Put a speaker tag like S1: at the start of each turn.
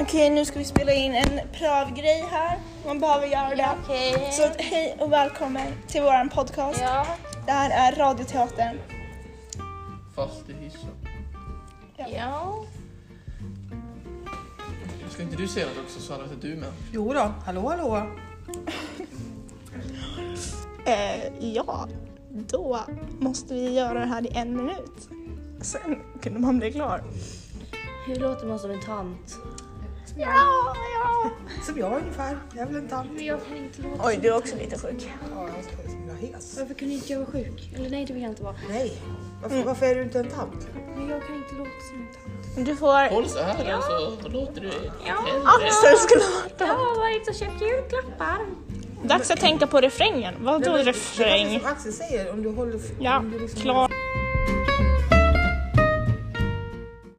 S1: Okej, nu ska vi spela in en prövgrej här. Man behöver göra det.
S2: Okej.
S1: Så att, hej och välkommen till våran podcast.
S2: Ja.
S1: Det här är Radioteatern.
S3: Fast i hissen.
S2: Ja.
S3: Ska inte du säga något också så hade inte du med?
S4: Jo då, hallå hallå.
S1: Eh, ja, då måste vi göra det här i en minut. Sen kunde man bli klar.
S2: Hur låter man som en tant?
S1: Ja, ja.
S4: Som jag ungefär. Jag är väl en tant.
S2: Jag kan inte låta.
S1: Oj, du är också lite sjuk.
S4: Ja, jag ska jag är hes.
S2: Varför kunde inte jag vara sjuk? Eller nej, det vill jag inte vara.
S4: Nej, varför,
S1: Mm.
S4: varför är du inte en tant?
S2: Men jag kan inte låta som en tant.
S1: Du får...
S3: Håll så här och så låter du.
S1: Axel skulle ha
S2: Jag har varit och köpt julklappar.
S1: Dags att tänka på refrängen. Vadå
S4: Det är faktiskt som Axel säger, om du håller...
S1: Ja,
S4: om du liksom-
S1: klar.